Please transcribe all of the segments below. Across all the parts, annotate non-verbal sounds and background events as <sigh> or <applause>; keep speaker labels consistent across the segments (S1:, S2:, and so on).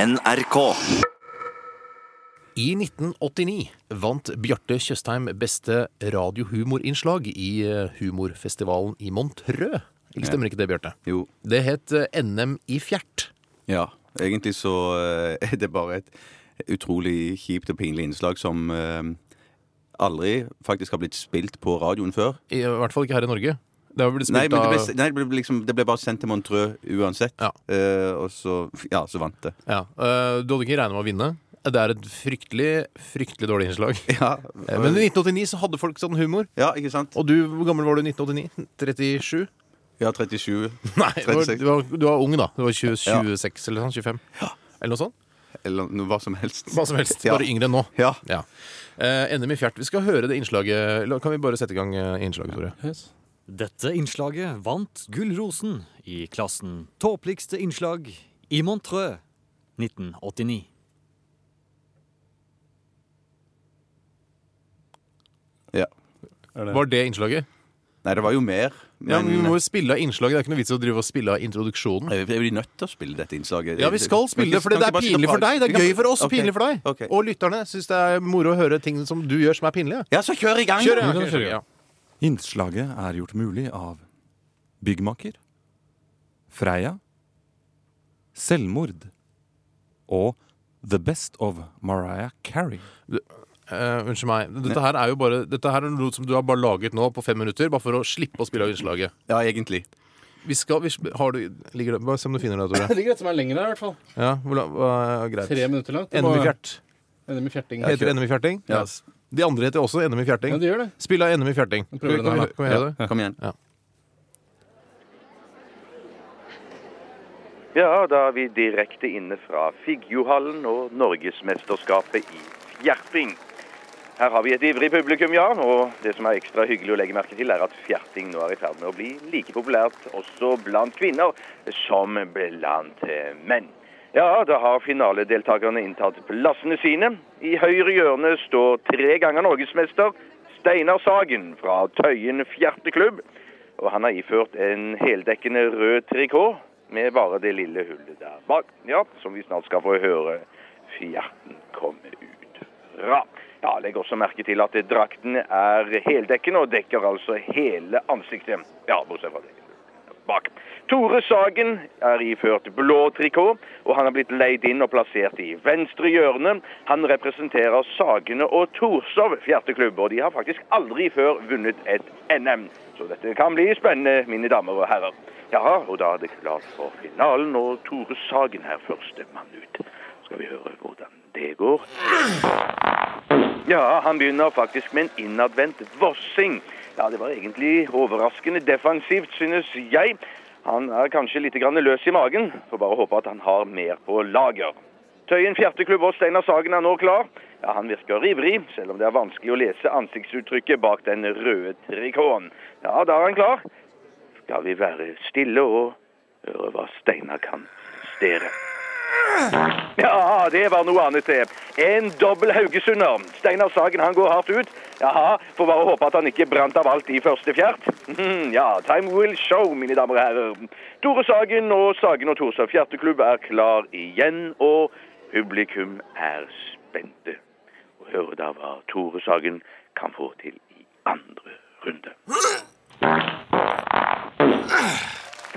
S1: NRK.
S2: I 1989 vant Bjarte Tjøstheim beste radiohumorinnslag i eh, humorfestivalen i Montreux. Ikke stemmer ikke det, Bjarte?
S3: Jo.
S2: Det het eh, NM i fjert.
S3: Ja. Egentlig så eh, <laughs> er det bare et utrolig kjipt og pinlig innslag som eh, aldri faktisk har blitt spilt på radioen før.
S2: I hvert fall ikke her i Norge. Det har blitt
S3: Nei,
S2: spilt
S3: men det
S2: av
S3: ble, nei, det ble, liksom, det ble bare sendt til Montreux uansett.
S2: Ja.
S3: Eh, og så Ja, så vant
S2: <laughs>
S3: det.
S2: ja. eh, Du hadde ikke regnet med å vinne. Det er et fryktelig, fryktelig dårlig innslag.
S3: <laughs> Ja,
S2: Eh, Men i 1989 så hadde folk sånn humor.
S3: ja ikke sant?
S2: Og du, hvor gammel var du i 1989? 37?
S3: <laughs> Ja, 37
S2: Nei, du var,
S3: 36.
S2: du var, du var ung, da. Du var 20,
S3: Ja.
S2: 26 eller sånn. 25. Eller noe sånt.
S3: eller noe hva som helst.
S2: Hva som helst.
S3: Ja.
S2: Bare yngre enn nå.
S3: Ja.
S2: Ja. Eh, NM i fjert. Vi skal høre det innslaget. Eller Kan vi bare sette i gang eh, innslaget, Tore?
S4: Dette innslaget vant Gullrosen i klassen Tåpeligste innslag i Montreux 1989.
S3: ja.
S2: Var det innslaget?
S3: Nei, det var jo mer.
S2: Ja,
S3: Men
S2: men Vi må jo spille av innslaget. Det er ikke noe vits i å drive og spille av introduksjonen.
S3: Eh, Er vi nødt til å spille dette innslaget?
S2: Ja, vi skal spille det, for
S3: Kan
S2: det
S3: ikke
S2: er
S3: bare sitte
S2: pinlig
S3: og
S2: for deg. Det
S3: prate?
S2: er gøy for oss,
S3: Ok.
S2: pinlig for deg.
S3: Ok.
S2: Og lytterne syns det er moro å høre ting som du gjør som er pinlige.
S3: Ja, så kjør i gang!
S2: Kjør, ja.
S3: da.
S2: kjør, kjør, ja.
S5: Innslaget er gjort mulig av Byggmaker, Freia, Selvmord og The Best of Mariah Carey.
S2: Eh, unnskyld meg. Dette her er jo bare Dette her er noe som du har bare laget nå på fem minutter, bare for å slippe å spille av innslaget.
S3: Ja, egentlig.
S2: Vi skal vi, har du, ligger det, Bare se om du finner det, Tore.
S6: Det ligger et som er lengre her, i hvert fall.
S2: Ja, hvor, la- hva er greit.
S6: Tre minutter langt. Det
S2: NM i
S6: var-
S2: fjert.
S6: NM i fjerting.
S2: Heter det NM i fjerting?
S3: Ja.
S2: De andre heter også NM i fjerting.
S6: Ja, de gjør det.
S2: Spill av NM i fjerting. Kan vi,
S6: prøver den her, da.
S2: kan vi høre det?
S3: Kom igjen.
S7: Ja, da er vi direkte inne fra Figgjohallen og Norgesmesterskapet i fjerting. Her har vi et ivrig publikum, ja, og det som er ekstra hyggelig å legge merke til, er at fjerting nå er i ferd med å bli like populært også blant kvinner som blant eh, menn. Ja, da har finaledeltakerne inntatt plassene sine. I høyre hjørne står tre ganger norgesmester Steinar Sagen fra Tøyen fjerteklubb. Og han har iført en heldekkende rød trikot med bare det lille hullet der bak, ja, som vi snart skal få høre fjerten komme ut fra. Ja, legg også merke til at drakten er heldekkende og dekker altså hele ansiktet. Ja, bortsett fra det bak. Tore Sagen er iført blå trikot, og han er blitt leid inn og plassert i venstre hjørne. Han representerer Sagene og Torshov fjerteklubb, og de har faktisk aldri før vunnet et NM. Så dette kan bli spennende, mine damer og herrer. Ja, og da er det klart for finalen, og Tore Sagen er førstemann ut. Skal vi høre hvordan det går? Ja, han begynner faktisk med en innadvendt vossing. Ja, det var egentlig overraskende defensivt, synes jeg. Han er kanskje litt grann løs i magen. Får bare håpe at han har mer på lager. Tøyen fjerteklubb og Steinar Sagen er nå klar. Ja, Han virker ivrig, selv om det er vanskelig å lese ansiktsuttrykket bak den røde trikoten. Ja, da er han klar. Skal vi være stille og høre hva Steinar kan prestere. <laughs> Ja, det var noe annet det. En dobbel haugesunder. Steinar Sagen han går hardt ut. Jaha, får bare håpe at han ikke brant av alt i første fjert. <laughs> Mhm, Ja, time will show, mine damer og herrer. Tore Sagen og Sagen og Torshov fjerteklubb er klar igjen, og publikum er spente. Og hør da hva Tore Sagen kan få til i andre runde.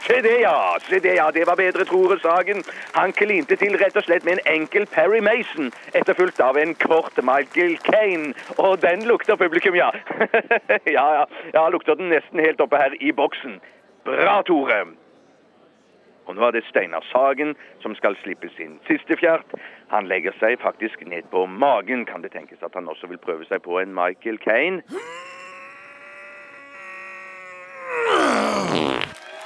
S7: Se det, ja. Se det, ja. Det var bedre, Tore Sagen. Han klinte til rett og slett med en enkel Perry Mason, etterfulgt av en kort Michael Kane. Og den lukter publikum, ja. <laughs> ja, ja. Ja, lukter den nesten helt oppe her i boksen. Bra, Tore. Og nå er det Steinar Sagen som skal slippe sin siste fjert. Han legger seg faktisk ned på magen. Kan det tenkes at han også vil prøve seg på en Michael Kane?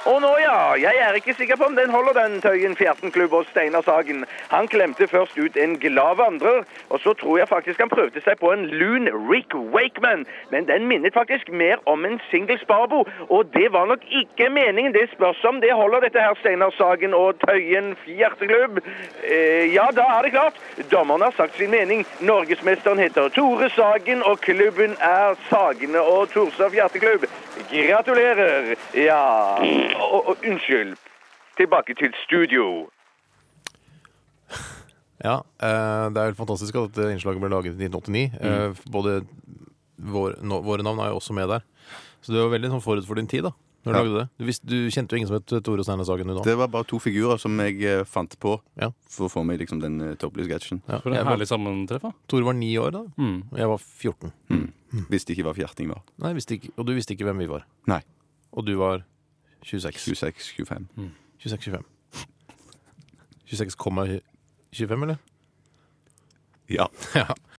S7: Og nå, ja. Jeg er ikke sikker på om den holder, den Tøyen Fjertenklubb og Steinar Sagen. Han klemte først ut en glad vandrer, og så tror jeg faktisk han prøvde seg på en lun Rick Wakeman. Men den minnet faktisk mer om en single sparbo, og det var nok ikke meningen. Det spørs om det holder, dette her Steinar Sagen og Tøyen Fjerteklubb. Eh, ja, da er det klart. Dommerne har sagt sin mening. Norgesmesteren heter Tore Sagen, og klubben er Sagene og Torshov Fjerteklubb. Gratulerer! Ja og, og unnskyld. Tilbake til studio.
S2: Ja, eh, Det er helt fantastisk at dette innslaget ble laget i 1989. Eh,
S6: Mm.
S2: Både vår, nå- våre navn er jo også med der. Så du var veldig sånn forut for din tid da når du
S3: Ja.
S2: lagde det. Du, visste, du kjente jo ingen som het eh, Tore Steinar Sagen du da.
S3: Det var bare to figurer som jeg eh, fant på
S2: Ja.
S3: for å få meg liksom den eh, topplysketsjen.
S2: Ja.
S6: For
S2: Jeg
S6: en
S2: var,
S6: herlig sammentreff, da.
S2: Tore var ni år da,
S6: Mm.
S2: og jeg var 14.
S3: Hvis det ikke var fjerting var.
S2: Nei, jeg visste ikke, Og du visste ikke hvem vi var.
S3: Nei.
S2: Og du var 26.
S3: 26-25.
S2: 26-25. 26,25, eller?
S3: Ja.
S2: <laughs> Ja.